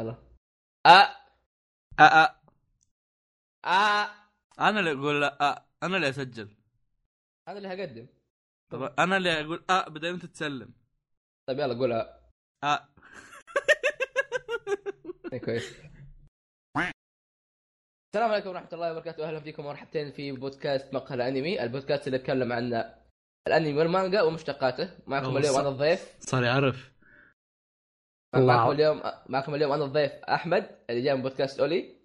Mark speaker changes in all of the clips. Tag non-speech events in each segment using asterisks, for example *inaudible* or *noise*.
Speaker 1: يلا أ
Speaker 2: أ أ
Speaker 1: أ
Speaker 2: انا اللي اقول أ أ. انا اللي اسجل
Speaker 1: أنا اللي هقدم
Speaker 2: طب انا اللي اقول أ بعدين انت تسلم
Speaker 1: طيب يلا قول أ
Speaker 2: أ
Speaker 1: *laughs* إيه، كويس السلام عليكم ورحمة الله وبركاته أهلا فيكم ومرحبتين في بودكاست مقهى الأنمي البودكاست اللي يتكلم عن الأنمي والمانجا ومشتقاته معكم
Speaker 2: أوه،
Speaker 1: اليوم
Speaker 2: صح.
Speaker 1: أنا الضيف
Speaker 2: صار يعرف
Speaker 1: معكم
Speaker 3: الله.
Speaker 1: اليوم معكم اليوم أنا الضيف أحمد اللي جاي من بودكاست أولي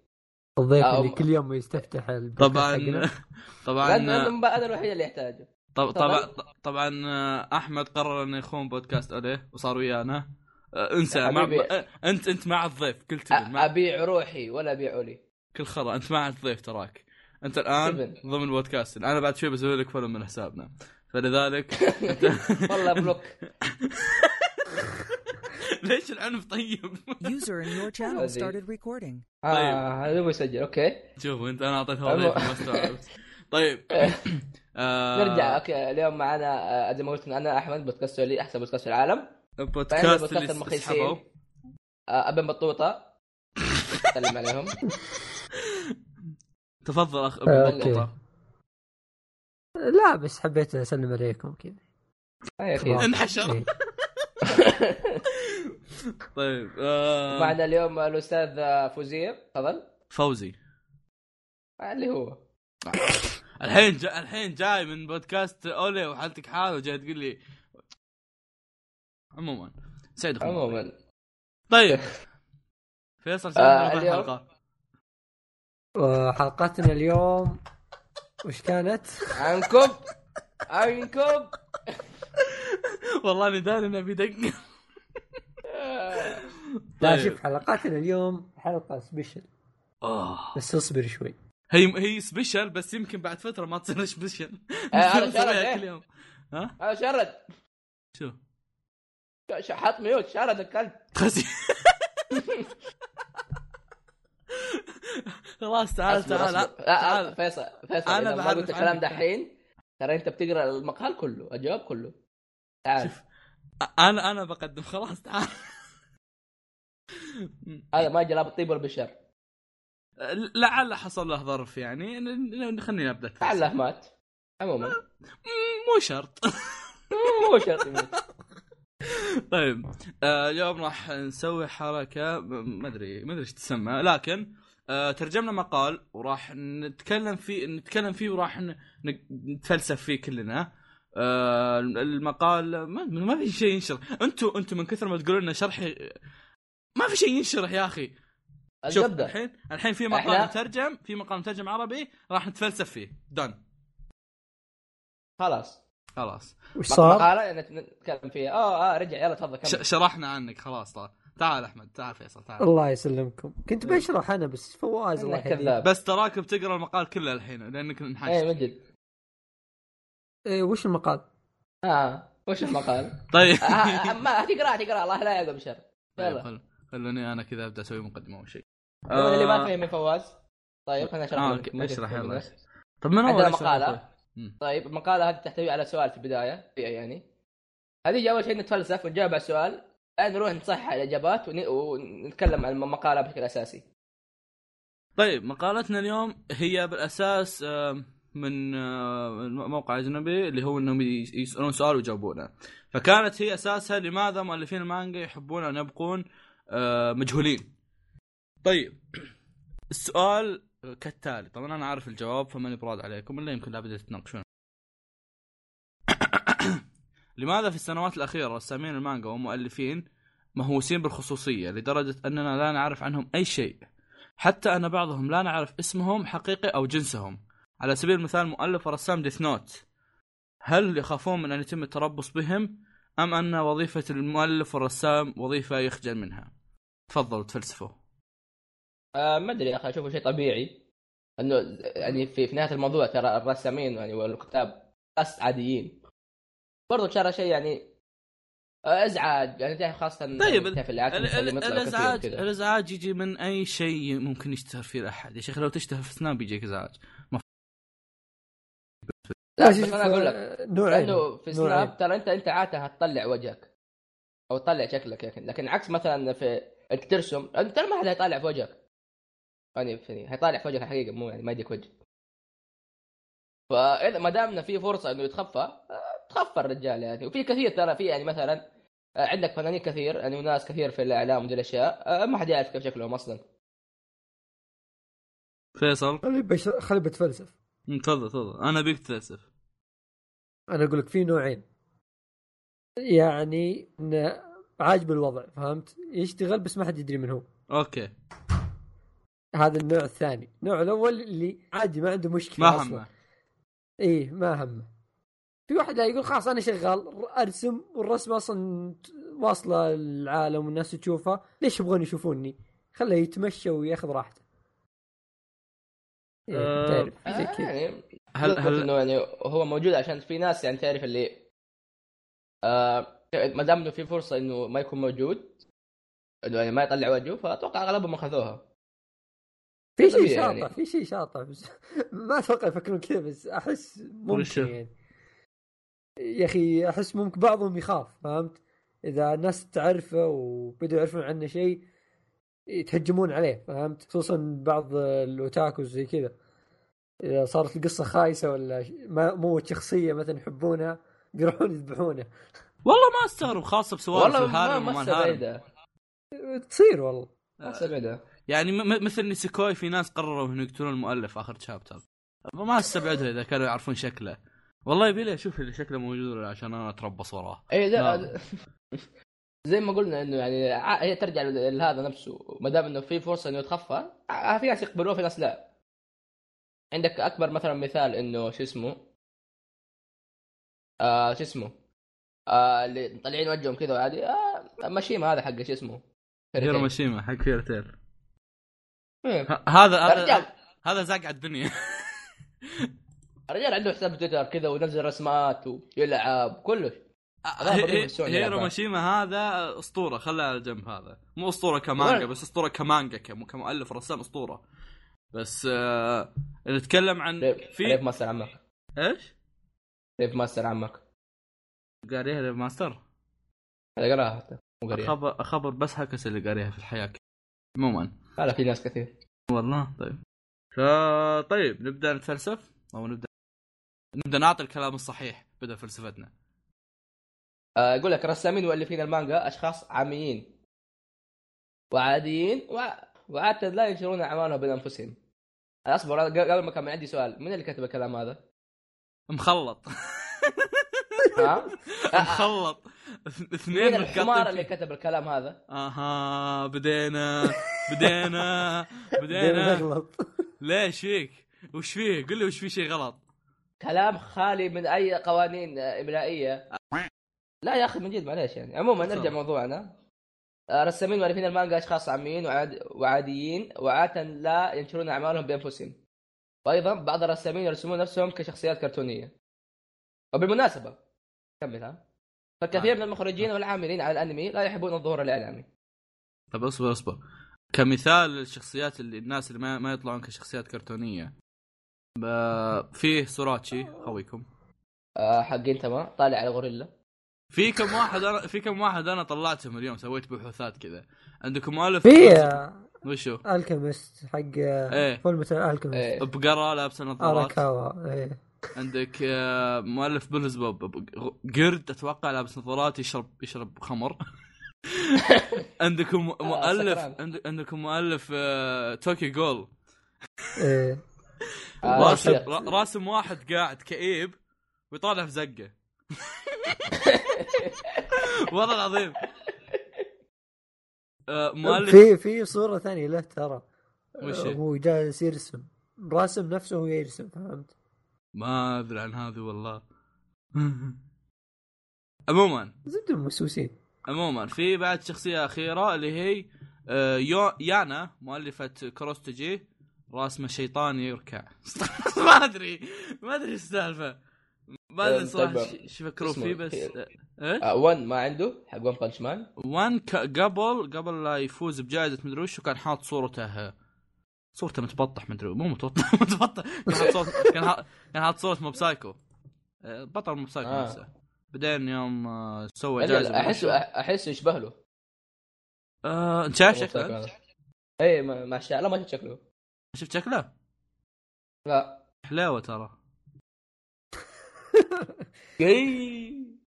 Speaker 3: الضيف
Speaker 1: آه،
Speaker 3: اللي كل يوم يستفتح البودكاست
Speaker 2: طبعا
Speaker 3: حقنا.
Speaker 1: *laughs*
Speaker 2: طبعا
Speaker 1: لأن أنا الوحيد اللي يحتاجه
Speaker 2: طب- طبعا طبعا احمد قرر انه يخون بودكاست عليه وصار ويانا أه، انسى مع...
Speaker 1: حبيبي.
Speaker 2: أه، انت انت مع الضيف كل
Speaker 1: أ-
Speaker 2: تبن مع...
Speaker 1: أبيع روحي ولا أبيع أولي
Speaker 2: كل خرا انت مع الضيف تراك انت الان
Speaker 1: تبن.
Speaker 2: ضمن بودكاست انا بعد شوي بسوي لك فولو من حسابنا فلذلك
Speaker 1: *laughs*
Speaker 2: انت
Speaker 1: والله بلوك
Speaker 2: ليش العنف طيب؟
Speaker 4: User in your channel
Speaker 1: Bloody.
Speaker 4: started recording.
Speaker 1: آه هذا هو يسجل أوكي
Speaker 2: شوف انت انا اعطيتها ضيف ما استوعبت
Speaker 1: *laughs*
Speaker 2: طيب آه،
Speaker 1: نرجع أوكي اليوم معنا آه، زي ما قلت أنا أحمد بودكاست أولي أحسن بودكاست في العالم بعدين
Speaker 2: البودكاست
Speaker 1: بودكاست
Speaker 2: اللي سحبوا
Speaker 1: المخيسين آه، ابن
Speaker 2: *laughs*
Speaker 1: بطوطه سلم عليهم
Speaker 2: تفضل اخ
Speaker 3: آه،
Speaker 2: أبو
Speaker 3: أوكي.
Speaker 2: بطوطة.
Speaker 3: لا بس حبيت اسلم عليكم كذا
Speaker 1: آه، يا أخي.
Speaker 3: خلاص.
Speaker 2: انحشر
Speaker 3: إيه.
Speaker 2: طيب آه،
Speaker 1: معنا اليوم الاستاذ آه، فوزير تفضل
Speaker 2: فوزي
Speaker 1: آه، اللي هو
Speaker 2: الحين جا... الحين جاي من بودكاست اولي وحالتك حال وجاي تقول لي عموما سعيد أخوي.
Speaker 1: عموما
Speaker 2: طيب فيصل سعيد
Speaker 1: آه،
Speaker 2: آه
Speaker 1: اليوم-
Speaker 2: الحلقه
Speaker 3: وحلقتنا اليوم وش كانت؟
Speaker 1: عنكم عنكم
Speaker 2: والله اني داري انه بيدق
Speaker 3: لا
Speaker 1: طيب.
Speaker 3: شوف حلقتنا اليوم حلقه سبيشل
Speaker 2: آه.
Speaker 3: بس اصبر شوي
Speaker 2: هي هي سبيشل بس يمكن بعد فتره ما تصير سبيشل
Speaker 1: آه، أنا
Speaker 2: نسويها
Speaker 1: شرد،
Speaker 2: كل
Speaker 1: إيه.
Speaker 2: يوم ها
Speaker 1: آه، شرد
Speaker 2: شو
Speaker 1: ش- ش- حط ميوت شرد الكلب *laughs*
Speaker 2: تخسي خلاص تعال
Speaker 1: أصبر،
Speaker 2: تعال
Speaker 1: أصبر. لا
Speaker 2: تعال.
Speaker 1: آه، فيصل فيصل
Speaker 2: أنا
Speaker 1: انا ما
Speaker 2: بعرف
Speaker 1: قلت الكلام
Speaker 2: عنك.
Speaker 1: دحين ترى انت بتقرا المقال كله الجواب كله تعال
Speaker 2: انا انا بقدم خلاص تعال
Speaker 1: هذا ما جلاب الطيب ولا بالشر
Speaker 2: لعل حصل له ظرف يعني ن- ن- خلينا نبدا
Speaker 1: تعال مات عموما
Speaker 2: آه. مو شرط *laughs*
Speaker 1: مو شرط يموت.
Speaker 2: طيب آه، اليوم راح نسوي حركه م- ما ادري ما ادري ايش تسمى لكن آه، ترجمنا مقال وراح نتكلم فيه نتكلم فيه وراح ن- ن- نتفلسف فيه كلنا آه، المقال ما, ما في شيء ينشر انتوا انتوا من كثر ما تقولون ان شرحي ما في شيء ينشرح يا اخي *laughs* شوف
Speaker 1: الزبده
Speaker 2: الحين الحين في مقال
Speaker 1: إحنا-
Speaker 2: مترجم في مقال مترجم عربي راح نتفلسف فيه دن
Speaker 1: خلاص
Speaker 2: خلاص
Speaker 3: وش صار؟
Speaker 1: مقالة يعني نتكلم فيها اه اه رجع يلا تفضل
Speaker 2: ش-
Speaker 1: كمل
Speaker 2: شرحنا عنك خلاص تعال تعال احمد تعال فيصل تعال
Speaker 3: الله يسلمكم كنت بشرح انا بس فواز الله
Speaker 1: انك
Speaker 3: يهديه
Speaker 1: كذاب
Speaker 2: بس تراك بتقرا المقال كله الحين لانك
Speaker 1: اي
Speaker 2: انحشت
Speaker 1: إيه، من جد
Speaker 3: إيه، وش المقال؟
Speaker 1: اه وش
Speaker 2: *laughs*
Speaker 1: المقال؟
Speaker 2: طيب
Speaker 1: آه، آه، آه، ما تقرا تقرا الله لا يعقب شر
Speaker 2: طيب
Speaker 1: يلا
Speaker 2: خل- خلوني انا كذا ابدا اسوي مقدمه اول شيء
Speaker 1: هو اللي ما
Speaker 2: آه،
Speaker 1: فهم من فواز طيب خلينا نشرح
Speaker 2: آه،
Speaker 1: لك.
Speaker 2: أوكي،
Speaker 1: ما تفهم
Speaker 2: اشرح يلا.
Speaker 1: الناس.
Speaker 2: طب من
Speaker 1: عندنا
Speaker 2: اول أشرح
Speaker 1: مقالة.
Speaker 2: طيب؟ مم.
Speaker 1: طيب المقالة هذه تحتوي على سؤال في البداية فيها يعني هذه اول شيء نتفلسف ونجاوب على السؤال بعدين نروح نصحح الاجابات ون- ونتكلم عن المقالة بشكل اساسي
Speaker 2: طيب مقالتنا اليوم هي بالاساس آم، من آم، موقع اجنبي اللي هو انهم يس- يسالون سؤال ويجاوبونه فكانت هي اساسها لماذا مؤلفين المانجا يحبون ان يبقون آه، مجهولين طيب السؤال كالتالي طبعا انا عارف الجواب فماني براد عليكم الا يمكن لابد تتناقشون *coughs* لماذا في السنوات الاخيره رسامين المانجا ومؤلفين مهووسين بالخصوصيه لدرجه اننا لا نعرف عنهم اي شيء حتى ان بعضهم لا نعرف اسمهم حقيقي او جنسهم على سبيل المثال مؤلف ورسام ديث نوت هل يخافون من ان يتم التربص بهم ام ان وظيفه المؤلف والرسام وظيفه يخجل منها تفضلوا تفلسفوا
Speaker 1: آه ما ادري يا اخي اشوفه شيء طبيعي انه يعني في, في نهايه الموضوع ترى الرسامين يعني والكتاب ناس عاديين برضو ترى شيء يعني آه، ازعاج يعني تعرف خاصه
Speaker 2: طيب،
Speaker 1: يعني تعرف العيال
Speaker 2: ال-
Speaker 1: اللي
Speaker 2: ال-
Speaker 1: يطلعوا كثير
Speaker 2: الازعاج
Speaker 1: كذا.
Speaker 2: الازعاج يجي من اي شيء ممكن يشتهر فيه احد يا شيخ لو تشتهر في سناب يجيك ازعاج
Speaker 1: لا
Speaker 3: شوف،
Speaker 1: بس انا اقول لك
Speaker 3: آه، نوعين
Speaker 1: لانه في
Speaker 3: نوعين.
Speaker 1: سناب ترى انت انت عاده هتطلع وجهك او تطلع شكلك لكن لكن عكس مثلا في انك ترسم انت ترى ما حد هيطالع في وجهك يعني في هيطالع في وجهك الحقيقه مو يعني ما يجيك وجه فاذا ما دامنا في فرصه انه يتخفى آه، تخفى الرجال يعني وفي كثير ترى في يعني مثلا آه، عندك فنانين كثير يعني وناس كثير في الاعلام ودي الاشياء آه، ما حد يعرف كيف شكلهم اصلا
Speaker 2: فيصل
Speaker 3: خلي بش... خلي بتفلسف
Speaker 2: مم، تفضل تفضل انا بيك تتاسف
Speaker 3: انا اقول لك في نوعين يعني إنه عاجب الوضع فهمت يشتغل بس ما حد يدري من هو
Speaker 2: اوكي
Speaker 3: هذا النوع الثاني النوع الاول اللي عادي ما عنده مشكله
Speaker 2: ما
Speaker 3: أصلاً.
Speaker 2: همه
Speaker 3: ايه ما همه في واحد لا يقول خلاص انا شغال ارسم والرسمه اصلا واصله للعالم والناس تشوفها ليش يبغون يشوفوني خله يتمشى وياخذ راحته
Speaker 2: آه، أه،
Speaker 3: إيه، تعرف زي
Speaker 1: آه،
Speaker 3: كذا
Speaker 1: يعني
Speaker 2: هل
Speaker 1: بالضبط
Speaker 2: هل
Speaker 1: انه يعني هو موجود عشان في ناس يعني تعرف اللي آه ما دام انه في فرصه انه ما يكون موجود انه يعني ما يطلع وجهه فاتوقع اغلبهم اخذوها
Speaker 3: في شيء
Speaker 1: طبيعي
Speaker 3: شاطح
Speaker 1: يعني.
Speaker 3: في شيء شاطح بس *laughs* ما اتوقع يفكرون كذا بس احس
Speaker 2: وش؟
Speaker 3: ممكن يعني يا اخي احس ممكن بعضهم يخاف فهمت؟ اذا الناس تعرفه وبدوا يعرفون عنه شيء يتهجمون عليه فهمت؟ خصوصا بعض الاوتاكوز زي كذا اذا صارت القصه خايسه ولا ش- ما موت شخصيه مثلا يحبونها بيروحون يذبحونه
Speaker 2: والله ما استغرب خاصه بسوالف
Speaker 1: والله ما
Speaker 2: الهارم وما
Speaker 1: ما
Speaker 2: الهارم
Speaker 1: بعيده
Speaker 3: تصير والله
Speaker 1: ما بعيده
Speaker 2: يعني م- م- مثل نيسيكوي في ناس قرروا انه يقتلون المؤلف اخر شابتر ما استبعدها اذا كانوا يعرفون شكله والله يبي لي اشوف اللي شكله موجود ولا عشان انا اتربص وراه
Speaker 1: اي لا
Speaker 2: نعم.
Speaker 1: إيه، *laughs* زي ما قلنا انه يعني ع- هي ترجع ل- لهذا نفسه ما دام انه في فرصه انه يتخفى ع- في ناس يقبلوه في ناس لا عندك اكبر مثلا مثال انه شو اسمه آه شو اسمه آه اللي طالعين وجههم كذا وعادي آه ماشيما هذا حق شو اسمه
Speaker 2: هيروشيما حق فيرتيل
Speaker 1: إيه.
Speaker 2: ه- هذا
Speaker 1: الرجال
Speaker 2: هذا هذا زاق على الدنيا
Speaker 1: الرجال عنده حساب تويتر كذا وينزل رسمات ويلعب كله *laughs* هذا
Speaker 2: هي-
Speaker 1: بضيف
Speaker 2: *laughs* هي-
Speaker 1: السوني
Speaker 2: هيرو
Speaker 1: لعبة.
Speaker 2: ماشيما هذا اسطوره خلاه على جنب هذا مو اسطوره كمانجا
Speaker 1: ولا-
Speaker 2: بس اسطوره كمانجا كم- كمؤلف رسام اسطوره بس آه نتكلم عن
Speaker 1: ريف ريف
Speaker 2: في
Speaker 1: ماستر عمك
Speaker 2: ايش؟
Speaker 1: ريف ماستر عمك
Speaker 2: قاريها للماستر
Speaker 1: هذا قراها حتى مو قريها
Speaker 2: خبر خبر بس هكس اللي قاريها في الحياه عموما
Speaker 1: هذا في ناس كثير
Speaker 2: والله طيب فا طيب نبدا نتفلسف او نبدا نبدا نعطي الكلام الصحيح بدل فلسفتنا
Speaker 1: آه، يقول لك رسامين مؤلفين المانجا اشخاص عاميين وعاديين و... وعادة لا ينشرون اعمالهم بين انفسهم أنا اصبر أنا قبل ما كان عندي سؤال من اللي كتب الكلام هذا؟
Speaker 2: مخلط
Speaker 1: ها؟
Speaker 2: مخلط اث-
Speaker 1: مين
Speaker 2: اثنين
Speaker 1: آه. الحمار اللي
Speaker 2: متقاطعين
Speaker 1: كتب الكلام هذا؟
Speaker 2: اها بدينا بدينا
Speaker 3: دايماً
Speaker 2: بدينا
Speaker 3: اغلط
Speaker 2: ليش فيك؟ وش فيه؟ قل لي وش في شيء غلط
Speaker 1: كلام خالي من اي قوانين آه، املائيه لا يا اخي من جد معليش يعني عموما نرجع
Speaker 2: تفضل.
Speaker 1: موضوعنا آه، رسامين مؤلفين المانجا اشخاص عاميين وعاد... وعاديين وعادة لا ينشرون اعمالهم بانفسهم وايضا بعض الرسامين يرسمون نفسهم كشخصيات كرتونيه وبالمناسبه كمل ها فالكثير
Speaker 2: آه.
Speaker 1: من المخرجين والعاملين على الانمي لا يحبون الظهور الاعلامي
Speaker 2: طب اصبر اصبر كمثال للشخصيات اللي الناس اللي ما, ما يطلعون كشخصيات كرتونيه ب- فيه سوراتشي خويكم
Speaker 1: آه، حقين تمام طالع على غوريلا
Speaker 2: في كم واحد انا في كم واحد انا طلعتهم اليوم سويت بحوثات كذا عندكم مؤلف
Speaker 3: في
Speaker 2: وشو؟
Speaker 3: الكيمست حق
Speaker 2: ايه
Speaker 3: فول مثل الكيمست
Speaker 1: إيه.
Speaker 2: بقره لابسه نظارات
Speaker 3: اراكاوا إيه.
Speaker 2: عندك آه، مؤلف بيلز بوب ب- غ- قرد اتوقع لابس نظارات يشرب يشرب خمر *laughs* عندكم مؤلف
Speaker 1: آه، سكران.
Speaker 2: عند- عندكم مؤلف آه، توكي جول
Speaker 3: ايه
Speaker 1: آه،
Speaker 2: راسم
Speaker 1: شيخ.
Speaker 2: را- راسم واحد قاعد كئيب ويطالع في زقه *laughs* والله العظيم آه، مؤلف
Speaker 3: في في صوره ثانيه له ترى
Speaker 2: وش هي؟
Speaker 3: هو جالس يرسم راسم نفسه وهو يرسم فهمت؟
Speaker 2: ما ادري عن هذه والله *laughs* عموما
Speaker 3: زبده موسوسين
Speaker 2: عموما في بعد شخصية أخيرة اللي هي آه، يو يانا مؤلفة كروستجي راسمه شيطان يركع *laughs* ما أدري ما أدري إيش السالفة ما أدري
Speaker 1: أم،
Speaker 2: صراحة
Speaker 1: طيب.
Speaker 2: إيش يفكروا
Speaker 1: اسمه
Speaker 2: فيه بس
Speaker 1: إيه؟
Speaker 2: إيه؟
Speaker 1: آه، ون ما عنده حق ون بانش مان
Speaker 2: وان ك- قبل قبل لا يفوز بجائزة مدري وش كان حاط صورته صورته متبطح مدري مو متبطح *laughs* متبطح كان حاط صورة كان حاط- كان حاط صورة موب سايكو آه، بطل موب سايكو
Speaker 1: آه.
Speaker 2: نفسه بعدين يوم آه، سوى
Speaker 1: لا، لا،
Speaker 2: جائزة
Speaker 1: احسه احسه يشبه له
Speaker 2: آه، انت شايف شكله أنت؟
Speaker 1: اي إيه، ما ما شاء لا ما شفت شكله
Speaker 2: شفت شكله
Speaker 1: لا
Speaker 2: حلاوه ترى
Speaker 1: اي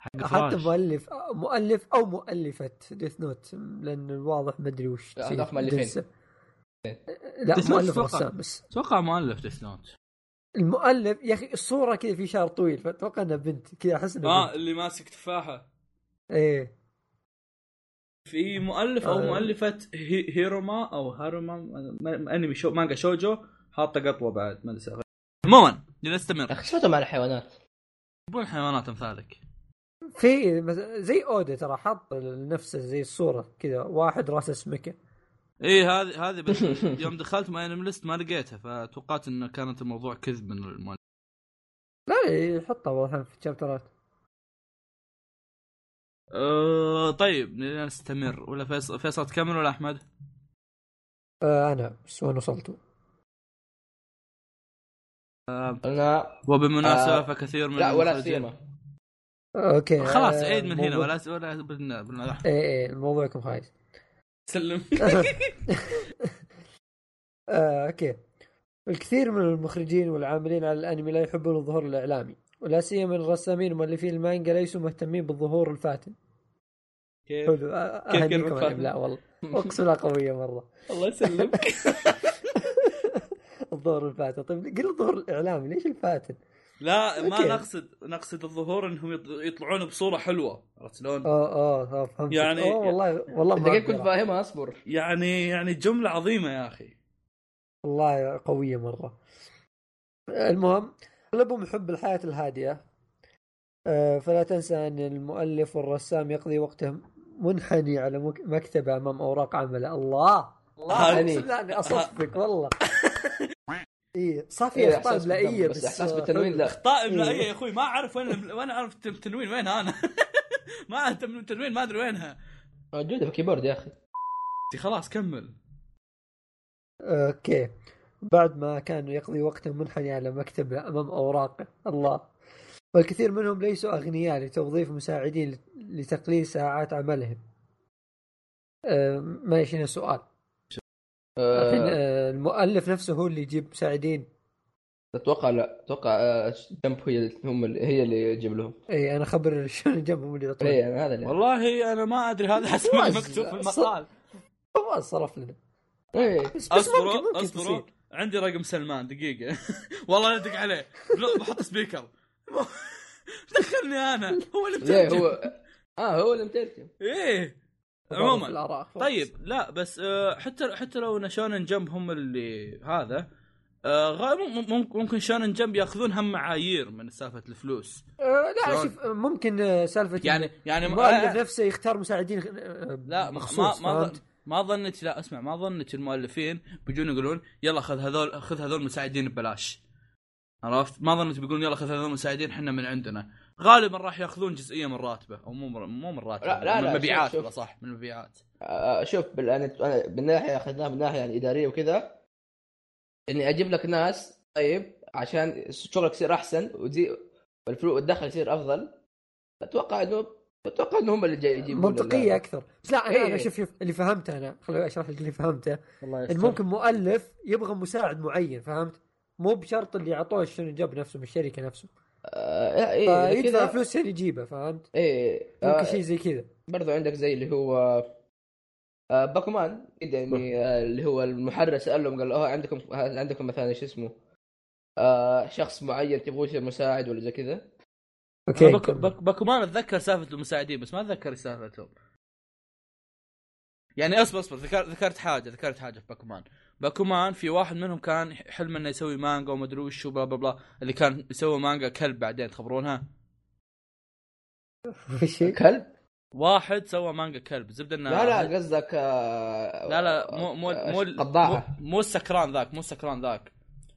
Speaker 2: حق
Speaker 3: حتى
Speaker 2: فراش
Speaker 3: مؤلف مؤلف او مؤلفه ديث نوت لان الواضح ما ادري وش
Speaker 1: لا،
Speaker 3: تصير
Speaker 1: هذاك مؤلفين.
Speaker 3: دنسة. لا
Speaker 2: Death Note
Speaker 3: مؤلف
Speaker 2: فقط.
Speaker 3: رسام بس
Speaker 2: اتوقع مؤلف ديث نوت
Speaker 3: المؤلف يا اخي الصوره كذا في شعر طويل فاتوقع انها بنت كذا احس انها
Speaker 2: اه
Speaker 3: بنت.
Speaker 2: اللي ماسك تفاحه
Speaker 3: ايه
Speaker 2: في مؤلف او
Speaker 3: آه.
Speaker 2: مؤلفه هي- هيروما او هاروما ما- ما- انمي شو مانجا شوجو حاطه قطوه بعد ما ادري سالفة. عموما
Speaker 1: يا
Speaker 2: لنستمر
Speaker 1: اخي شفتهم على *laughs* الحيوانات
Speaker 2: يبون حيوانات امثالك
Speaker 3: في مث- زي اودا ترى حط نفسه زي الصوره كذا واحد راسه سمكه
Speaker 2: اي إيه، هذه هذه
Speaker 1: *laughs*
Speaker 2: بس يوم دخلت ماي انمي ليست ما لقيتها فتوقعت انه كانت الموضوع كذب من المؤلف
Speaker 3: لا لا، يحطها بعض الأحيان في الشابترات
Speaker 2: أه طيب لنستمر ولا فيصل فيصل تكمل ولا احمد؟
Speaker 3: آه انا بس وين وصلت
Speaker 1: انا
Speaker 2: وبالمناسبه
Speaker 1: آه،
Speaker 2: فكثير من
Speaker 1: لا ولا
Speaker 2: المخرجين-
Speaker 1: سيما
Speaker 3: اوكي
Speaker 2: خلاص
Speaker 3: آه،
Speaker 2: عيد من هنا
Speaker 3: موضوع-
Speaker 2: ولا ولا بالنا- بالنا-
Speaker 3: ايه ايه موضوعكم خايس
Speaker 2: *laughs* سلم
Speaker 3: آه، اوكي الكثير من المخرجين والعاملين على الانمي لا يحبون الظهور الاعلامي ولا سيما الرسامين ومؤلفين المانجا ليسوا مهتمين بالظهور الفاتن حلو آه،
Speaker 2: كيف
Speaker 3: أهنيكم
Speaker 2: كلمة
Speaker 3: على
Speaker 2: فاتن؟
Speaker 3: الإملاء والله اقسم بالله قويه مره
Speaker 2: الله يسلمك
Speaker 3: *laughs* الظهور الفاتن طيب قل الظهور الاعلامي ليش الفاتن؟
Speaker 2: لا ما
Speaker 3: أوكي.
Speaker 2: نقصد نقصد الظهور انهم يط- يطلعون بصوره حلوه عرفت شلون؟
Speaker 3: اوه اوه اوه فهمت
Speaker 2: يعني-
Speaker 3: أوه والله والله ما
Speaker 1: دقيقة كنت
Speaker 3: أقدر.
Speaker 1: فاهمها اصبر
Speaker 2: يعني يعني جمله عظيمه يا اخي
Speaker 3: والله قويه مره المهم اغلبهم يحب الحياه الهادئه آه، فلا تنسى ان المؤلف والرسام يقضي وقته منحني على مك- مكتبه امام اوراق عمله الله الله
Speaker 1: هذه-
Speaker 3: اقسم بالله اني اصفق
Speaker 1: *laughs*
Speaker 3: والله ايه صافي
Speaker 1: إيه،
Speaker 3: اخطاء
Speaker 1: إحساس
Speaker 3: ملائيه
Speaker 1: بالدم،
Speaker 3: بس
Speaker 1: بس احساس بالتنوين لا
Speaker 2: طائم لا أي يا اخوي ما اعرف وين وين اعرف التن- التنوين وين انا *laughs* ما اهتم التنوين ما ادري وينها
Speaker 1: موجودة في الكيبورد يا اخي
Speaker 2: خلاص كمل
Speaker 3: اوكي بعد ما كان يقضي وقته منحني على مكتبه امام اوراقه الله والكثير منهم ليسوا اغنياء لتوظيف مساعدين لتقليل ساعات عملهم أه، ما يشينا سؤال الحين
Speaker 1: أه،
Speaker 3: أه، المؤلف نفسه هو اللي يجيب مساعدين
Speaker 1: اتوقع لا اتوقع أه، جمب هي اللي- هم اللي- هي اللي تجيب لهم
Speaker 3: اي انا خبر شلون جنبهم اللي يعطون
Speaker 1: اي إيه، أنا هذا اللي
Speaker 2: والله انا ما ادري هذا
Speaker 3: *laughs*
Speaker 2: حسب ما
Speaker 3: واز-
Speaker 2: مكتوب في المقال
Speaker 3: والله صرف لنا
Speaker 1: إيه.
Speaker 3: بس, بس ممكن
Speaker 2: اصبروا
Speaker 3: ممكن
Speaker 2: اصبروا
Speaker 3: تصير.
Speaker 2: عندي رقم سلمان دقيقه *laughs* والله لا ادق عليه لا، بحط سبيكر *laughs* دخلني انا هو اللي
Speaker 1: ليه
Speaker 2: بترجم
Speaker 1: هو *laughs* اه هو اللي مترجم
Speaker 2: ايه
Speaker 3: في
Speaker 2: عموما
Speaker 3: الآراء خلاص.
Speaker 2: طيب لا بس آه، حتى حتى لو ان شونن جمب هم اللي هذا آه، غا- مم- مم- ممكن شونن جمب ياخذون هم معايير من سالفه الفلوس
Speaker 3: أه، لا
Speaker 2: شلون؟
Speaker 3: شوف أه، ممكن أه، سالفه
Speaker 2: يعني يعني
Speaker 3: المؤلف
Speaker 2: ما
Speaker 3: نفسه يختار مساعدين أه،
Speaker 2: لا ما
Speaker 3: مخصوص
Speaker 2: ما ما
Speaker 3: فهمت؟
Speaker 2: ما ظنك لا اسمع ما ظنك المؤلفين بيجون يقولون يلا خذ هذول خذ هذول مساعدين ببلاش عرفت ما ظنك بيقولون يلا خذ هذول مساعدين احنا من عندنا غالبا راح ياخذون جزئيه من راتبه او مو من- مو من راتبه
Speaker 1: لا- لا-
Speaker 2: من
Speaker 1: لا، شوف-
Speaker 2: المبيعات
Speaker 1: شوف.
Speaker 2: ولا صح من المبيعات
Speaker 1: آه، شوف بال- أنا- أنا من ناحيه اخذناها من ناحيه يعني اداريه وكذا اني اجيب لك ناس طيب عشان شغلك يصير احسن وتزيد والفلوس والدخل يصير افضل اتوقع انه اتوقع انه هم اللي جاي يجيبون
Speaker 3: منطقيه اكثر بس لا انا
Speaker 1: إيه.
Speaker 3: انا شوف شوف اللي فهمته انا خليني اشرح لك اللي فهمته
Speaker 1: الله
Speaker 3: ان ممكن مؤلف يبغى مساعد معين فهمت؟ مو بشرط اللي اعطوه شنو جاب نفسه من الشركه نفسه
Speaker 1: آه،
Speaker 3: إيه،
Speaker 1: اي
Speaker 3: فيدفع
Speaker 1: إيه، كذا
Speaker 3: فلوس عشان يجيبه فهمت؟
Speaker 1: اي
Speaker 3: آه، ممكن شيء زي كذا
Speaker 1: برضو عندك زي اللي هو آه، باكمان كده يعني آه، اللي هو المحرر سالهم قال اه عندكم هل عندكم مثلا شو اسمه آه، شخص معين تبغوه يصير مساعد ولا زي كذا
Speaker 3: اوكي
Speaker 2: باك
Speaker 3: *laughs* كمل.
Speaker 2: باك باكومان اتذكر سالفه المساعدين بس ما اتذكر سالفتهم يعني اصبر اصبر ذكر ذكرت حاجه ذكرت حاجه في باكومان باكومان في واحد منهم كان حلم انه يسوي مانجا وما ادري وش بلا بلا بلا اللي كان يسوي مانجا كلب بعدين تخبرونها
Speaker 3: وش هي؟
Speaker 1: كلب
Speaker 2: واحد سوى مانجا كلب زبده انه
Speaker 1: لا لا قصدك آه،
Speaker 2: لا لا مو مو
Speaker 1: آه،
Speaker 2: مو ال-
Speaker 1: قضاعه
Speaker 2: مو- مو السكران ذاك مو السكران ذاك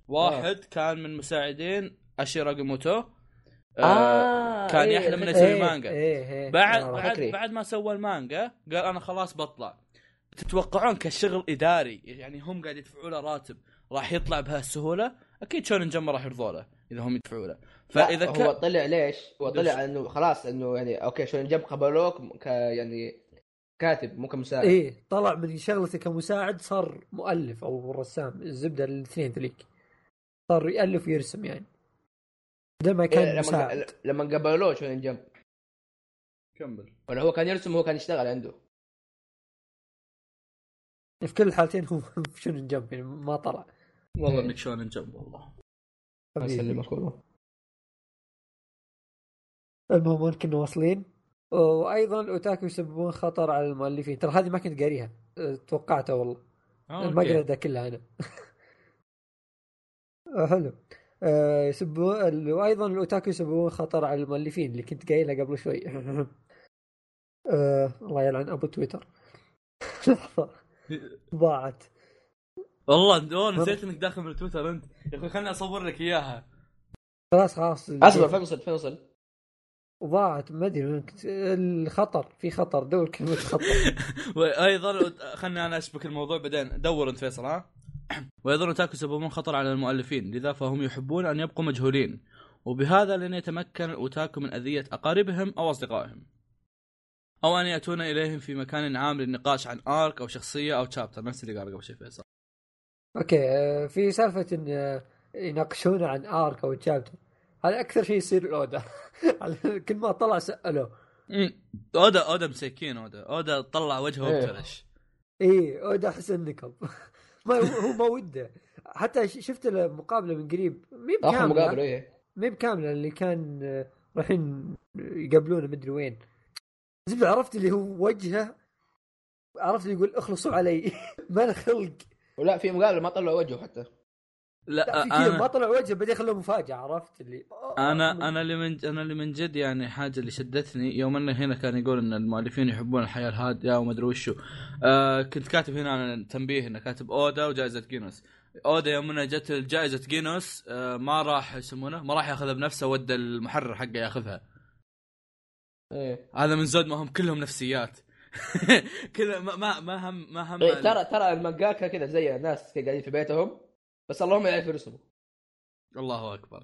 Speaker 2: واحد كان من مساعدين اشيرا جيموتو آه، كان
Speaker 1: إيه،
Speaker 2: يحلم انه
Speaker 1: فكرة.
Speaker 2: يسوي
Speaker 3: آه، إيه،
Speaker 2: مانجا
Speaker 3: إيه، إيه.
Speaker 2: بعد
Speaker 3: آه.
Speaker 2: بعد
Speaker 1: فكري.
Speaker 2: بعد ما سوى المانجا قال انا خلاص بطلع تتوقعون كشغل اداري يعني هم قاعد يدفعوا له راتب راح يطلع بهالسهوله اكيد شونن جمب راح يرضى له اذا هم يدفعوا له فاذا
Speaker 1: لا، هو
Speaker 2: كان
Speaker 1: طلع ليش؟ هو
Speaker 2: دش.
Speaker 1: طلع انه خلاص انه يعني اوكي شون جنب قبلوك ك يعني كاتب مو كمساعد
Speaker 3: ايه طلع من شغلته كمساعد صار مؤلف او رسام الزبده الاثنين ذليك صار يالف ويرسم يعني بدل ما كان
Speaker 1: إيه، لما
Speaker 3: مساعد
Speaker 1: لما قبلوه شونين جمب
Speaker 2: كمل
Speaker 1: ولا هو كان يرسم وهو كان يشتغل عنده
Speaker 3: في كل الحالتين هو *laughs* شنو جمب يعني ما طلع
Speaker 2: والله
Speaker 1: إيه.
Speaker 2: انك شونن جنب والله
Speaker 1: الله
Speaker 3: حبيبي.
Speaker 1: يسلمك والله
Speaker 3: المهم وين كنا واصلين وايضا الاوتاكو يسببون خطر على المؤلفين ترى هذه ما كنت قاريها أه، توقعتها والله
Speaker 2: آه،
Speaker 3: ما
Speaker 2: أوكي.
Speaker 3: قريتها كلها انا آه، حلو آه، يسبون ال- وايضا الاوتاكو يسببون خطر على المؤلفين اللي كنت قايلها قبل شوي *laughs* آه، الله يلعن ابو تويتر *laughs* لحظه ضاعت
Speaker 2: والله أوه، نسيت انك داخل من تويتر انت يا اخوي خليني اصور لك اياها
Speaker 3: خلاص خلاص
Speaker 1: اصبر فنصل فنصل
Speaker 3: ضاعت ما ادري وين كنت- الخطر في خطر دور كلمه خطر
Speaker 2: وايضا خلني انا اشبك الموضوع بعدين دور انت فيصل ها *clears throat* وايضا اوتاكو يسببون خطر على المؤلفين لذا فهم يحبون ان يبقوا مجهولين وبهذا لن يتمكن الاوتاكو من اذيه اقاربهم او اصدقائهم او ان ياتون اليهم في مكان عام للنقاش عن ارك او شخصيه او شابتر نفس اللي قال قبل شوي فيصل
Speaker 3: اوكي آه، في سالفه ان آه، يناقشون عن ارك او تشابتر هذا اكثر شيء يصير الاودا *laughs* على- كل ما طلع سالوه
Speaker 2: أمم. اودا اودا مسكين اودا اودا طلع وجهه
Speaker 1: إيه.
Speaker 2: وابتلش
Speaker 3: اي اودا احس النكب *laughs* ما هو ما وده حتى ش- شفت له مقابله من قريب مي
Speaker 1: اخر مقابله
Speaker 3: بكامله
Speaker 1: ايه
Speaker 3: مي بكامله اللي كان آه، رايحين يقابلونه مدري وين زبده عرفت اللي هو وجهه عرفت اللي يقول اخلصوا علي *laughs* ما له خلق
Speaker 1: ولا في مقابله ما طلعوا وجهه حتى
Speaker 2: لا
Speaker 3: لا في كذا
Speaker 2: انا
Speaker 3: ما طلع وجهه بعدين خلوه مفاجاه عرفت اللي
Speaker 2: انا انا اللي من انا اللي من جد يعني حاجه اللي شدتني يوم انه هنا كان يقول ان المؤلفين يحبون الحياه الهادئه وما ادري وشو آه كنت كاتب هنا على تنبيه انه كاتب اودا وجائزه جينوس اودا يوم انه جت جائزه جينوس آه ما راح يسمونه ما راح ياخذها بنفسه ودى المحرر حقه ياخذها
Speaker 1: ايه
Speaker 2: هذا من زود ما هم كلهم نفسيات *laughs* كذا ما ما ما هم ما هم
Speaker 1: إيه، ترى ترى المقاكه كذا زي الناس كده قاعدين في بيتهم بس اللهم يعرف يرسموا
Speaker 2: الله اكبر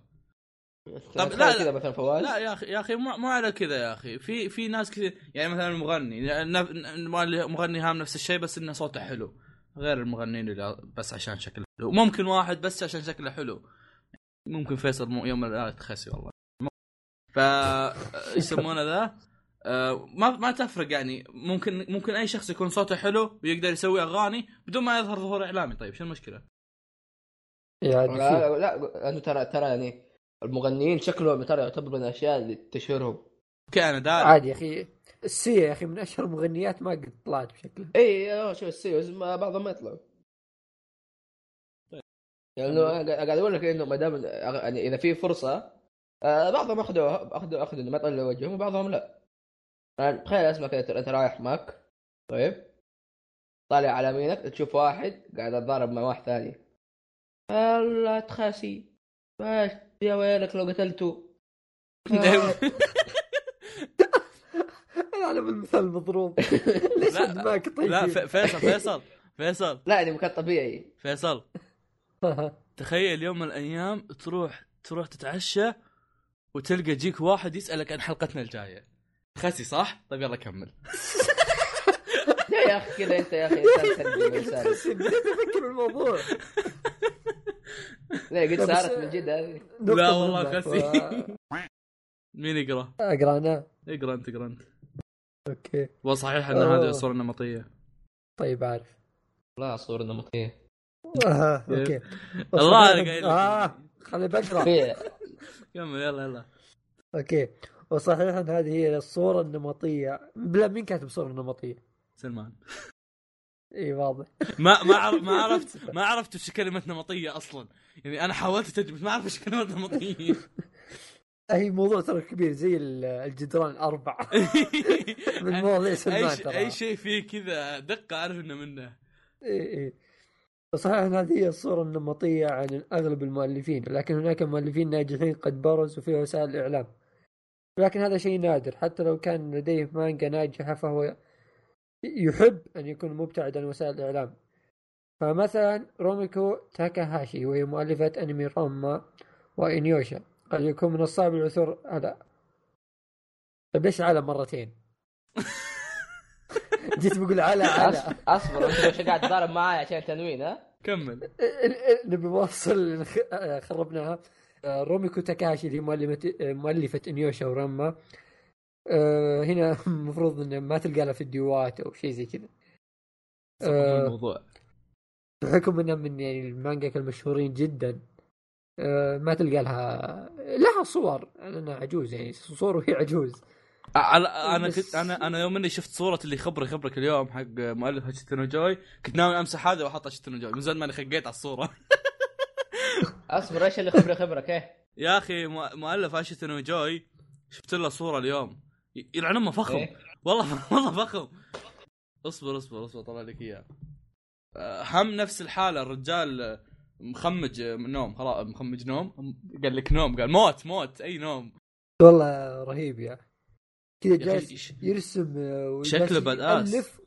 Speaker 1: طب
Speaker 2: لا،
Speaker 1: لا
Speaker 2: لا.
Speaker 1: كذا مثلا فواز
Speaker 2: لا يا اخي يا اخي مو مو على كذا يا اخي في في ناس كذا يعني مثلا المغني نف- المغني- مغني هام نفس الشيء بس انه صوته حلو غير المغنيين اللي بس عشان شكله حلو ممكن واحد بس عشان شكله حلو ممكن فيصل مو يوم من الايام تخسي والله ف يسمونه ذا آه، ما ما تفرق يعني ممكن ممكن اي شخص يكون صوته حلو ويقدر يسوي اغاني بدون ما يظهر ظهور اعلامي طيب شو المشكله؟
Speaker 3: يعني
Speaker 1: طيب، لا لا لانه ترى ترى يعني المغنيين شكلهم ترى يعتبر من الاشياء اللي تشهرهم
Speaker 2: اوكي انا داري
Speaker 3: عادي يا اخي السيا يا اخي من اشهر المغنيات ما قد طلعت بشكله *laughs*
Speaker 1: اي آه، شوف السيوز ما- بعضهم ما يطلعوا لانه أنا قاعد اقول لك انه ما دام يعني اذا في فرصه آه، بعضهم اخذوا اخذوا اخذوا إنه ما طلعوا وجههم وبعضهم لا يعني تخيل اسمك انت أنت رايح معك طيب طالع على يمينك تشوف واحد قاعد اتضارب مع واحد ثاني الله تخاسي ما يا ويلك لو قتلته
Speaker 3: انا على المثال *laughs* المضروب ليش
Speaker 2: لا،
Speaker 3: دماغك طيب
Speaker 2: *laughs* لا ف- فيصل فيصل فيصل
Speaker 1: لا يعني مكان طبيعي
Speaker 2: فيصل تخيل يوم من الايام تروح تروح تتعشى وتلقى جيك واحد يسالك عن حلقتنا الجايه خسي صح؟ طيب يلا كمل
Speaker 1: لا يا اخي كذا انت يا اخي انسان
Speaker 3: *laughs*
Speaker 1: سلبي انسان
Speaker 3: تفكر الموضوع
Speaker 1: لا قد
Speaker 3: لا، بس-
Speaker 1: صارت من جد هذه
Speaker 2: لا والله خسي.
Speaker 3: *laughs*
Speaker 2: مين يقرا؟
Speaker 3: اقرا انا
Speaker 2: اقرا انت اقرا انت
Speaker 3: اوكي
Speaker 2: وصحيح ان
Speaker 3: آه.
Speaker 2: هذه صوره نمطيه
Speaker 3: طيب عارف
Speaker 1: لا صورة نمطية
Speaker 3: *laughs* آه، اوكي
Speaker 2: *laughs* الله أنا قايل لك.
Speaker 3: آه، خليني *laughs* بقرا
Speaker 1: في
Speaker 2: كمل يلا يلا
Speaker 3: اوكي وصحيحا هذه هي الصورة النمطية بلا مين كاتب صورة نمطية؟
Speaker 2: سلمان
Speaker 3: اي واضح
Speaker 2: ما ما عرف ما عرفت ما عرفت وش كلمه نمطيه اصلا يعني انا حاولت اترجم ما اعرف ايش كلمه نمطيه
Speaker 3: اي موضوع ترى كبير زي ال- الجدران الاربع *laughs* من موضوع
Speaker 2: اي
Speaker 3: سلمان
Speaker 2: ش-
Speaker 3: ترى
Speaker 2: اي شيء فيه كذا دقه اعرف انه منه
Speaker 3: إيه إيه. صحيح أن هذه هي الصورة النمطية عن أغلب المؤلفين لكن هناك مؤلفين ناجحين قد برزوا في وسائل الإعلام لكن هذا شيء نادر حتى لو كان لديه مانجا ناجحة فهو يحب أن يكون مبتعد عن وسائل الإعلام فمثلا روميكو تاكاهاشي وهي مؤلفة أنمي راما وإنيوشا قد يكون من الصعب العثور على طيب ليش على مرتين؟ جيت بقول على على
Speaker 1: اصبر انت وش قاعد تضارب معاي عشان تنوين ها؟
Speaker 2: كمل
Speaker 3: نبي نوصل اللي نخ- آه، خربناها آه، روميكو تاكاشي اللي مؤلفة مؤلفة انيوشا ورما آه، هنا المفروض انه ما تلقى لها فيديوهات او شيء زي كذا
Speaker 2: صبحوا
Speaker 3: آه.
Speaker 2: الموضوع
Speaker 3: بحكم انها من يعني المانجاك المشهورين جدا آه، ما تلقى لها لها صور انا عجوز يعني صور وهي عجوز
Speaker 2: أ- على- انا
Speaker 3: إيه، بس-
Speaker 2: كنت انا انا يوم اني شفت صوره اللي خبري خبرك اليوم حق مؤلف هاشتنو جوي كنت ناوي امسح هذا واحط هاشتنو جوي من زمان ماني خقيت على الصوره
Speaker 1: اصبر ايش اللي خبري خبرك ايه؟
Speaker 2: *laughs* يا اخي مؤ- مؤلف اشتنو جوي شفت له صوره اليوم ي- يلعن امه فخم
Speaker 1: إيه؟
Speaker 2: *laughs* والله والله فخم اصبر اصبر اصبر طلع لك اياه آه، هم نفس الحاله الرجال آه، مخمج آه، من نوم خلاص مخمج نوم م- قال لك نوم قال موت موت اي نوم
Speaker 3: والله رهيب يا كذا
Speaker 2: يا
Speaker 3: جالس
Speaker 2: أخي ش-
Speaker 3: يرسم آه، وجالس
Speaker 2: شكله badass.
Speaker 3: يألف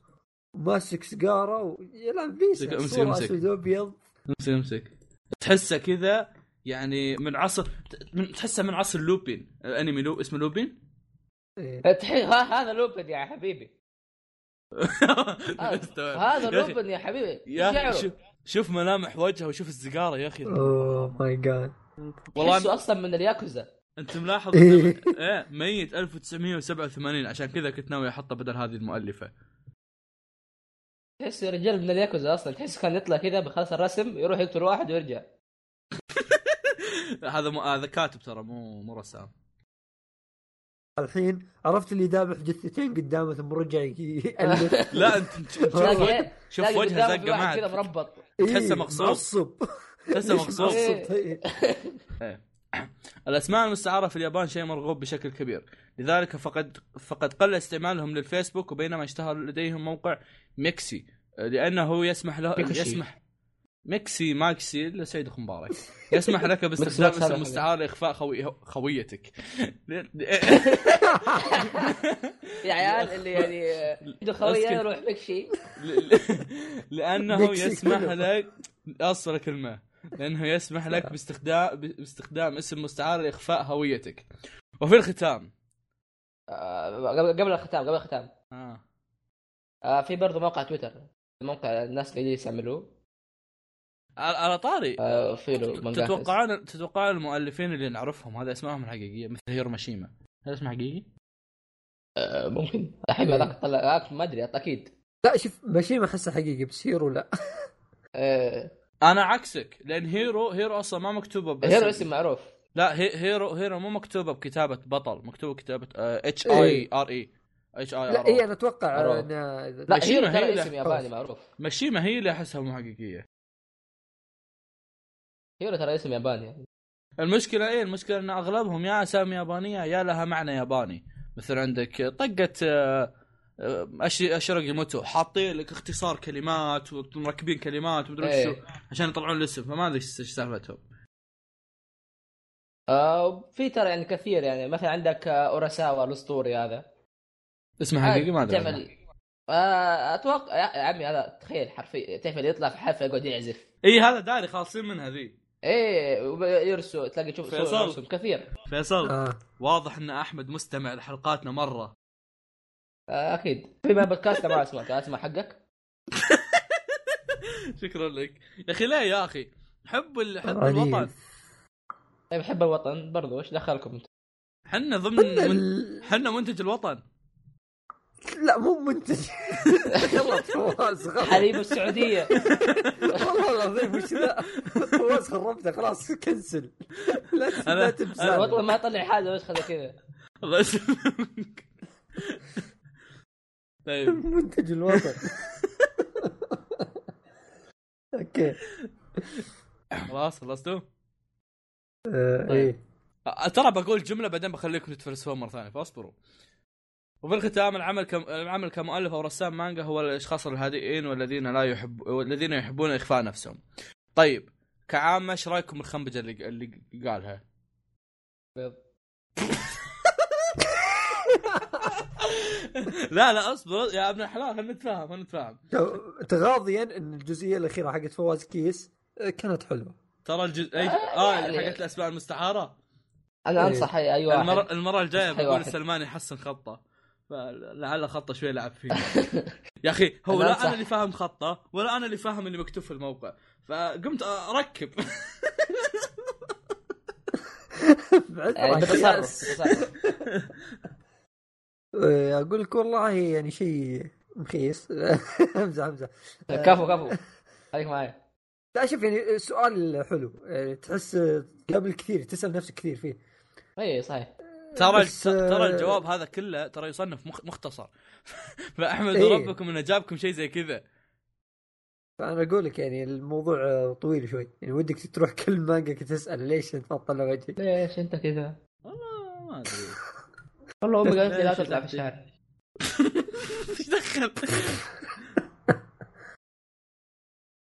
Speaker 3: ماسك سيجاره و... يا لا
Speaker 2: امسك-
Speaker 3: بيس
Speaker 2: امسك-
Speaker 3: صورة
Speaker 2: امسك.
Speaker 3: اسود وابيض
Speaker 2: امسك امسك تحسه كذا يعني من عصر ت- من تحسه من عصر لوبين انمي لو اسمه لوبين
Speaker 3: إيه.
Speaker 1: تحي- ها- هذا لوبن يا حبيبي آه،
Speaker 2: *laughs*
Speaker 1: هذا
Speaker 2: يا أخي-
Speaker 1: لوبن يا حبيبي
Speaker 2: يا اخي
Speaker 1: شعره
Speaker 2: شوف شوف ملامح وجهه وشوف السيجاره يا اخي
Speaker 3: آه. اوه ماي جاد
Speaker 2: والله
Speaker 1: تحسه اصلا من الياكوزا
Speaker 2: انت ملاحظ
Speaker 3: إيه.
Speaker 2: إنه- ايه ميت 1987 عشان كذا كنت ناوي احطه بدل هذه المؤلفه
Speaker 1: تحسه رجال من الياكوزا اصلا تحسه كان يطلع كذا بخلص الرسم يروح يقتل واحد ويرجع
Speaker 2: هذا مو هذا كاتب ترى مو مو رسام
Speaker 3: الحين عرفت اللي ذابح جثتين قدامه ثم رجع ي-
Speaker 2: *laughs*
Speaker 3: يألف
Speaker 2: لا انت شوف
Speaker 1: تلاقي-
Speaker 2: وجه- شوف
Speaker 1: تلاقي
Speaker 2: وجهه
Speaker 1: قدامه في
Speaker 2: زقه
Speaker 1: واحد كذا
Speaker 2: معك
Speaker 1: مربط
Speaker 2: تحسه
Speaker 3: إيه،
Speaker 2: مغصوب.
Speaker 3: معصب
Speaker 1: *laughs*
Speaker 2: تحسه مغصوب
Speaker 3: معصب. إيه.
Speaker 2: الاسماء المستعاره في اليابان شيء مرغوب بشكل كبير لذلك فقد فقد قل استعمالهم للفيسبوك وبينما اشتهر لديهم موقع ميكسي لانه يسمح له
Speaker 1: ميكسي.
Speaker 2: يسمح ميكسي ماكسي لا سيد
Speaker 1: *laughs*
Speaker 2: خمبارك يسمح لك باستخدام
Speaker 1: ماكس هذا
Speaker 2: اسم مستعار لاخفاء خوي... خويتك *laughs*
Speaker 1: *laughs* يا عيال اللي يعني
Speaker 2: *laughs*
Speaker 1: عنده خويه
Speaker 2: أسكت.
Speaker 1: يروح لك شيء
Speaker 2: ل- ل- لانه
Speaker 3: ميكسي
Speaker 2: يسمح
Speaker 3: كله.
Speaker 2: لك اصل الكلمه لانه يسمح لك باستخدام باستخدام اسم مستعار لاخفاء هويتك وفي الختام
Speaker 1: آه، قبل قبل الختام قبل الختام
Speaker 2: آه.
Speaker 1: آه، في برضه موقع تويتر موقع الناس قاعدين يستعملوه
Speaker 2: على على طاري
Speaker 1: آه، في له مانجا حس.
Speaker 2: تتوقعون تتوقعون المؤلفين اللي نعرفهم هذا اسمائهم الحقيقيه مثل هيروماشيما هذا اسمه حقيقي؟
Speaker 1: آه،
Speaker 2: *laughs*
Speaker 1: ممكن الحين هذاك طلع هذاك ما ادري اكيد
Speaker 3: لا شوف ماشي ما احسه حقيقي بس هيرو لا
Speaker 1: آه،
Speaker 2: انا عكسك لان هيرو هيرو اصلا ما مكتوبه بس
Speaker 1: هيرو اسم معروف
Speaker 2: لا هي هيرو هيرو مو مكتوبه بكتابه بطل آه، مكتوبه بكتابه اتش اي
Speaker 3: إيه.
Speaker 2: ار اي اتش اي
Speaker 3: لا إيه،
Speaker 2: ار
Speaker 3: اي
Speaker 2: اي
Speaker 3: انا
Speaker 2: آه،
Speaker 3: اتوقع
Speaker 1: أروح.
Speaker 3: انه
Speaker 1: لا
Speaker 2: ماشي،
Speaker 1: هيرو
Speaker 2: ما هي
Speaker 1: ترى
Speaker 2: له
Speaker 1: اسم ياباني معروف
Speaker 2: مشيمه هي اللي احسها مو حقيقيه
Speaker 1: هيرو ترى اسم ياباني يعني.
Speaker 2: المشكله ايه المشكله ان اغلبهم يا اسامي يابانيه يا لها معنى ياباني مثل عندك طقه آه، آه، أشي- اشرق موتو حاطين لك اختصار كلمات ومركبين كلمات ومدري
Speaker 1: إيه.
Speaker 2: شو عشان يطلعون الاسم فما ادري ايش إيش سالفتهم
Speaker 1: آه، في ترى يعني كثير يعني مثلا عندك آه، اوراساوا الاسطوري هذا
Speaker 2: اسمه حقيقي ما ادري عنه.
Speaker 1: تعمل آه، اتوقع يا عمي هذا تخيل حرفيا تعمل يطلع في حفله يقعد يعزف
Speaker 2: اي إيه، هذا داري خالصين منها ذي
Speaker 1: ايه يرسو تلاقي تشوف صور
Speaker 2: فيصل.
Speaker 1: يرسم كثير
Speaker 2: فيصل
Speaker 3: آه.
Speaker 2: واضح ان احمد مستمع لحلقاتنا *laughs* مره
Speaker 1: آه، اكيد في ما بودكاست ما اسمع كان اسمع حقك
Speaker 2: شكرا لك يا اخي ليه يا اخي حب ال... حب
Speaker 3: غريب.
Speaker 2: الوطن
Speaker 1: طيب حب الوطن برضو وش دخلكم *laughs* انت؟
Speaker 2: حنا ضمن
Speaker 3: حنا
Speaker 2: من...
Speaker 3: ال-
Speaker 2: حنا منتج الوطن
Speaker 3: لا مو منتج *laughs* غلط فواز غلط
Speaker 1: حليب السعوديه *laughs*
Speaker 3: والله العظيم وش ذا *laughs* فواز خربته خلاس كنسل لا ت-
Speaker 2: أنا-
Speaker 3: لا
Speaker 1: الوطن
Speaker 3: تبزع
Speaker 1: ما يطلع حاجه بس خذ كذا
Speaker 2: الله يسلمك طيب
Speaker 3: منتج الوطن *laughs* اوكي
Speaker 2: خلاص خلصتوا؟ طيب.
Speaker 3: آه، ايه
Speaker 2: أ- ترى بقول جمله بعدين بخليكم تتفلسفون مره ثانيه فاصبروا. وفي الختام العمل كم... العمل كمؤلف او رسام مانجا هو الاشخاص الهادئين والذين لا يحب والذين يحبون اخفاء نفسهم. طيب كعامه ايش رايكم بالخنبجه اللي اللي قالها؟ *laughs*
Speaker 1: بيض.
Speaker 2: لا لا اصبر يا ابن الحلال خلينا نتفاهم خلينا نتفاهم.
Speaker 3: تو- تغاضيا ان الجزئيه الاخيره حقت فواز كيس آه، كانت حلوه
Speaker 2: ترى الجزء اي اه اللي حقت الاسماء المستعاره
Speaker 1: انا انصح اي أي واحد
Speaker 2: المره المره الجايه
Speaker 1: صحي
Speaker 2: بقول
Speaker 1: واحد.
Speaker 2: السلماني يحسن خطه لعل خطه شوي لعب فيه يا اخي هو
Speaker 1: لا
Speaker 2: لا
Speaker 1: صح.
Speaker 2: انا اللي فاهم خطه ولا انا اللي فاهم اللي مكتوب في الموقع فقمت اركب
Speaker 3: بعد
Speaker 2: إيه،
Speaker 1: يعني
Speaker 3: راح
Speaker 1: بتصرف *laughs*
Speaker 3: يخير.
Speaker 1: بتصرف.
Speaker 3: إيه، اقول لك والله يعني شيء مخيس *laughs* امزح امزح
Speaker 1: طيب، كفو كفو خليك معي
Speaker 3: لا شوف يعني سؤال حلو إيه، تحس قبل كثير تسال نفسك كثير فيه
Speaker 1: اي إيه، صحيح
Speaker 2: ترى
Speaker 3: بس-
Speaker 2: ترى الجواب هذا كله ترى يصنف مخ- مختصر *laughs* فاحمدوا
Speaker 3: إيه.
Speaker 2: ربكم انه جابكم شيء زي كذا
Speaker 3: فانا اقول لك يعني الموضوع آه، طويل شوي يعني ودك تروح كل مانجا تسال ليش تفضل على وجهي
Speaker 1: ليش انت كذا؟
Speaker 2: والله ما *laughs* ادري
Speaker 1: والله امك انت *laughs* لا
Speaker 2: ليش
Speaker 1: تطلع في
Speaker 2: أنت؟
Speaker 1: الشارع
Speaker 2: ايش دخل *laughs*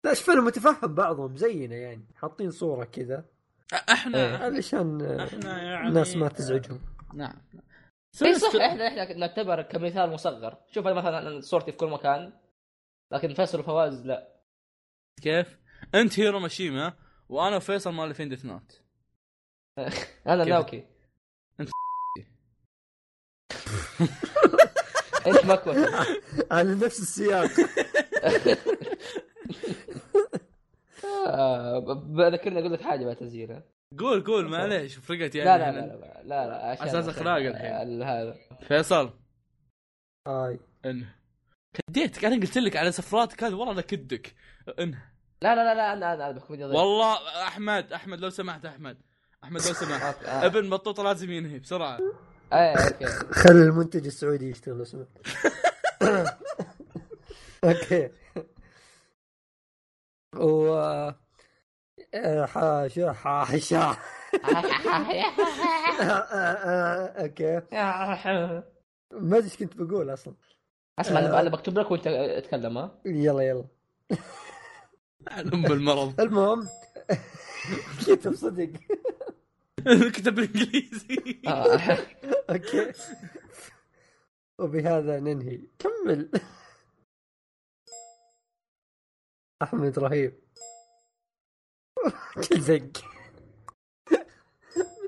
Speaker 3: لا شوف انا متفهم بعضهم زينا يعني حاطين صوره كذا
Speaker 2: احنا
Speaker 3: علشان آه،
Speaker 2: احنا يعني
Speaker 3: الناس ما تزعجهم *laughs*
Speaker 2: نعم
Speaker 1: اي إيه، صح احنا احنا نعتبر كمثال مصغر شوف انا مثلا صورتي في كل مكان لكن فيصل وفواز لا
Speaker 2: كيف؟ انت هيرو ماشيما وانا وفيصل مالفين ديث نوت
Speaker 1: انا
Speaker 2: كيف؟
Speaker 1: ناوكي *laughs*
Speaker 2: أنت
Speaker 1: انت مكوت
Speaker 3: على نفس السياق
Speaker 1: آه، ب- بذكرني اقول لك حاجه بعد تسجيل
Speaker 2: قول قول معليش فرقت يعني
Speaker 1: لا لا لا لا لا, لا عشان-
Speaker 2: أساس
Speaker 1: عشان
Speaker 2: أخلاق الحين.
Speaker 1: ال- هذا
Speaker 2: فيصل
Speaker 3: هاي
Speaker 2: انه كديتك انا قلت لك على سفراتك هذه والله انا كدك انه
Speaker 1: لا لا لا لا انا انا انا
Speaker 2: طيب.
Speaker 1: بكوميديا ضيق
Speaker 2: والله احمد احمد لو سمحت احمد احمد لو *laughs* سمحت
Speaker 1: أوكي، آه.
Speaker 2: ابن بطوطه لازم ينهي بسرعه
Speaker 1: ايه اوكي *laughs*
Speaker 3: خل المنتج السعودي يشتغل لو سمحت *laughs* اوكي و آه، حاشا حاشا *laughs* اوكي ما ادري ايش كنت بقول اصلا
Speaker 1: اسمع انا أنا بكتب لك وانت اتكلم ها
Speaker 3: يلا يلا
Speaker 2: علم *laughs* بالمرض
Speaker 3: المهم كتب صدق
Speaker 2: كتب بالانجليزي *laughs*
Speaker 1: آه.
Speaker 3: اوكي وبهذا ننهي كمل *laughs* احمد رهيب *laughs* كل زق *laughs*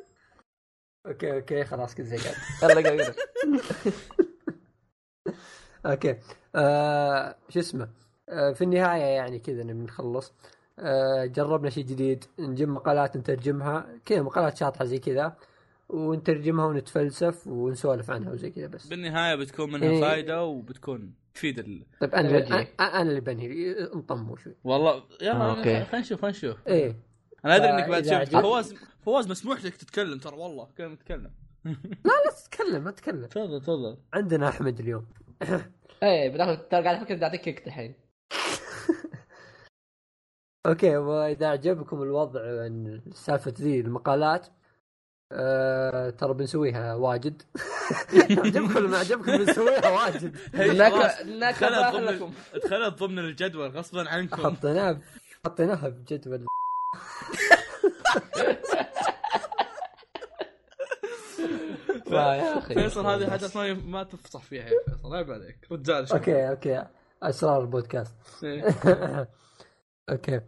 Speaker 3: اوكي اوكي خلاص كل زق
Speaker 1: يلا
Speaker 3: *laughs*
Speaker 1: قول
Speaker 3: اوكي آه شو اسمه آه في النهايه يعني كذا نبي نخلص آه جربنا شيء جديد نجيب مقالات نترجمها كذا مقالات شاطحه زي كذا ونترجمها ونتفلسف ونسولف عنها وزي كذا بس
Speaker 2: بالنهايه بتكون
Speaker 3: إيه.
Speaker 2: منها فائده وبتكون تفيد ال...
Speaker 3: *laughs* طيب انا
Speaker 1: توجهي.
Speaker 3: أ- انا اللي بنهي نطمو شوي
Speaker 2: والله يلا
Speaker 1: آه، أوكي.
Speaker 2: خلينا نشوف خلينا نشوف
Speaker 3: ايه
Speaker 2: انا ادري
Speaker 3: فإذا
Speaker 2: انك بعد شفت
Speaker 3: عجبك-
Speaker 2: فواز فواز مسموح لك تتكلم ترى والله كلام تتكلم
Speaker 3: بس تكلم ما تكلم
Speaker 2: تفضل تفضل
Speaker 3: عندنا احمد اليوم
Speaker 1: ايه بداخل ترى قاعد افكر بدي اعطيك كيك الحين
Speaker 3: اوكي واذا عجبكم الوضع عن سالفه ذي المقالات آه، ترى بنسويها *laughs* واجد عجبكم ولا ما عجبكم بنسويها واجد
Speaker 2: إيه،
Speaker 1: نك- نك-
Speaker 2: دخلت
Speaker 1: بارك
Speaker 2: ضمن
Speaker 1: لكم.
Speaker 2: دخلت ضمن الجدول غصبا عنكم
Speaker 3: حطيناها
Speaker 2: *laughs*
Speaker 3: حطيناها بجدول
Speaker 1: لا يا اخي
Speaker 2: فيصل هذه حدث ما ما تفصح فيها يا فيصل عيب عليك رجال شوف.
Speaker 3: اوكي اوكي اسرار البودكاست *laughs*
Speaker 2: إيه.
Speaker 3: اوكي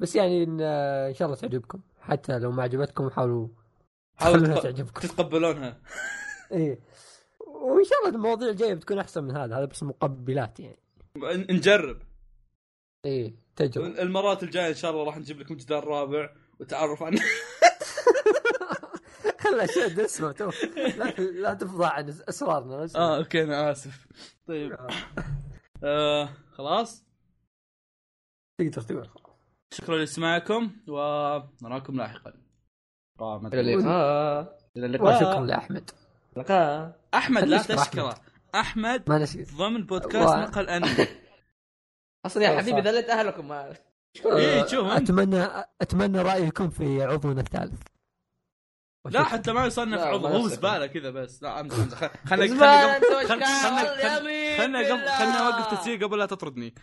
Speaker 3: بس يعني ان إن شاء الله تعجبكم حتى لو ما عجبتكم حاولوا
Speaker 2: حاولوا
Speaker 3: خلوها
Speaker 2: تق-
Speaker 3: تعجبكم
Speaker 2: تتقبلونها
Speaker 3: ايه وان شاء الله المواضيع الجايه بتكون احسن من هذا هذا بس مقبلات يعني
Speaker 2: ن- نجرب
Speaker 3: ايه
Speaker 2: *laughs*
Speaker 3: *laughs* تجربه
Speaker 2: المرات الجايه ان شاء الله راح نجيب لكم جدال رابع وتعرف
Speaker 3: *laughs*
Speaker 2: عن
Speaker 3: خلها اشياء دسمه تو لا, لا تفضع عن اسرارنا بس.
Speaker 2: اه اوكي انا اسف
Speaker 3: *laughs*
Speaker 2: طيب آه خلاص
Speaker 3: تقدر تقول
Speaker 2: شكرا لاستماعكم ونراكم لاحقا آه، ما أدري.
Speaker 1: الى اللقاء الى
Speaker 3: وشكرا
Speaker 1: اللقاء
Speaker 3: لاحمد
Speaker 1: اللقاء
Speaker 2: احمد لا
Speaker 3: خليش مع أحمد.
Speaker 2: تشكره احمد
Speaker 3: ما نسيت
Speaker 2: ضمن بودكاست
Speaker 3: الله.
Speaker 2: نقل انمي
Speaker 1: اصلا يا
Speaker 3: أيوة،
Speaker 1: حبيبي
Speaker 3: صح.
Speaker 1: ذلت آه. اهلكم ما-
Speaker 3: آه،
Speaker 2: إيه، شوف أنت.
Speaker 3: اتمنى اتمنى رايكم في عضونا الثالث
Speaker 2: لا حتى ما يصنف
Speaker 1: لا،
Speaker 2: عضو
Speaker 1: ما
Speaker 2: هو
Speaker 1: يصنف.
Speaker 2: زباله كذا بس لا امزح امزح
Speaker 1: *laughs*
Speaker 2: خلنا
Speaker 1: زبالة
Speaker 2: خلنا
Speaker 1: أنت وش
Speaker 2: خلنا
Speaker 1: قاعد؟
Speaker 2: خلنا
Speaker 1: يا
Speaker 2: خلنا
Speaker 1: أمي
Speaker 2: خلنا
Speaker 1: بالله.
Speaker 2: اوقف تسجيل قبل لا تطردني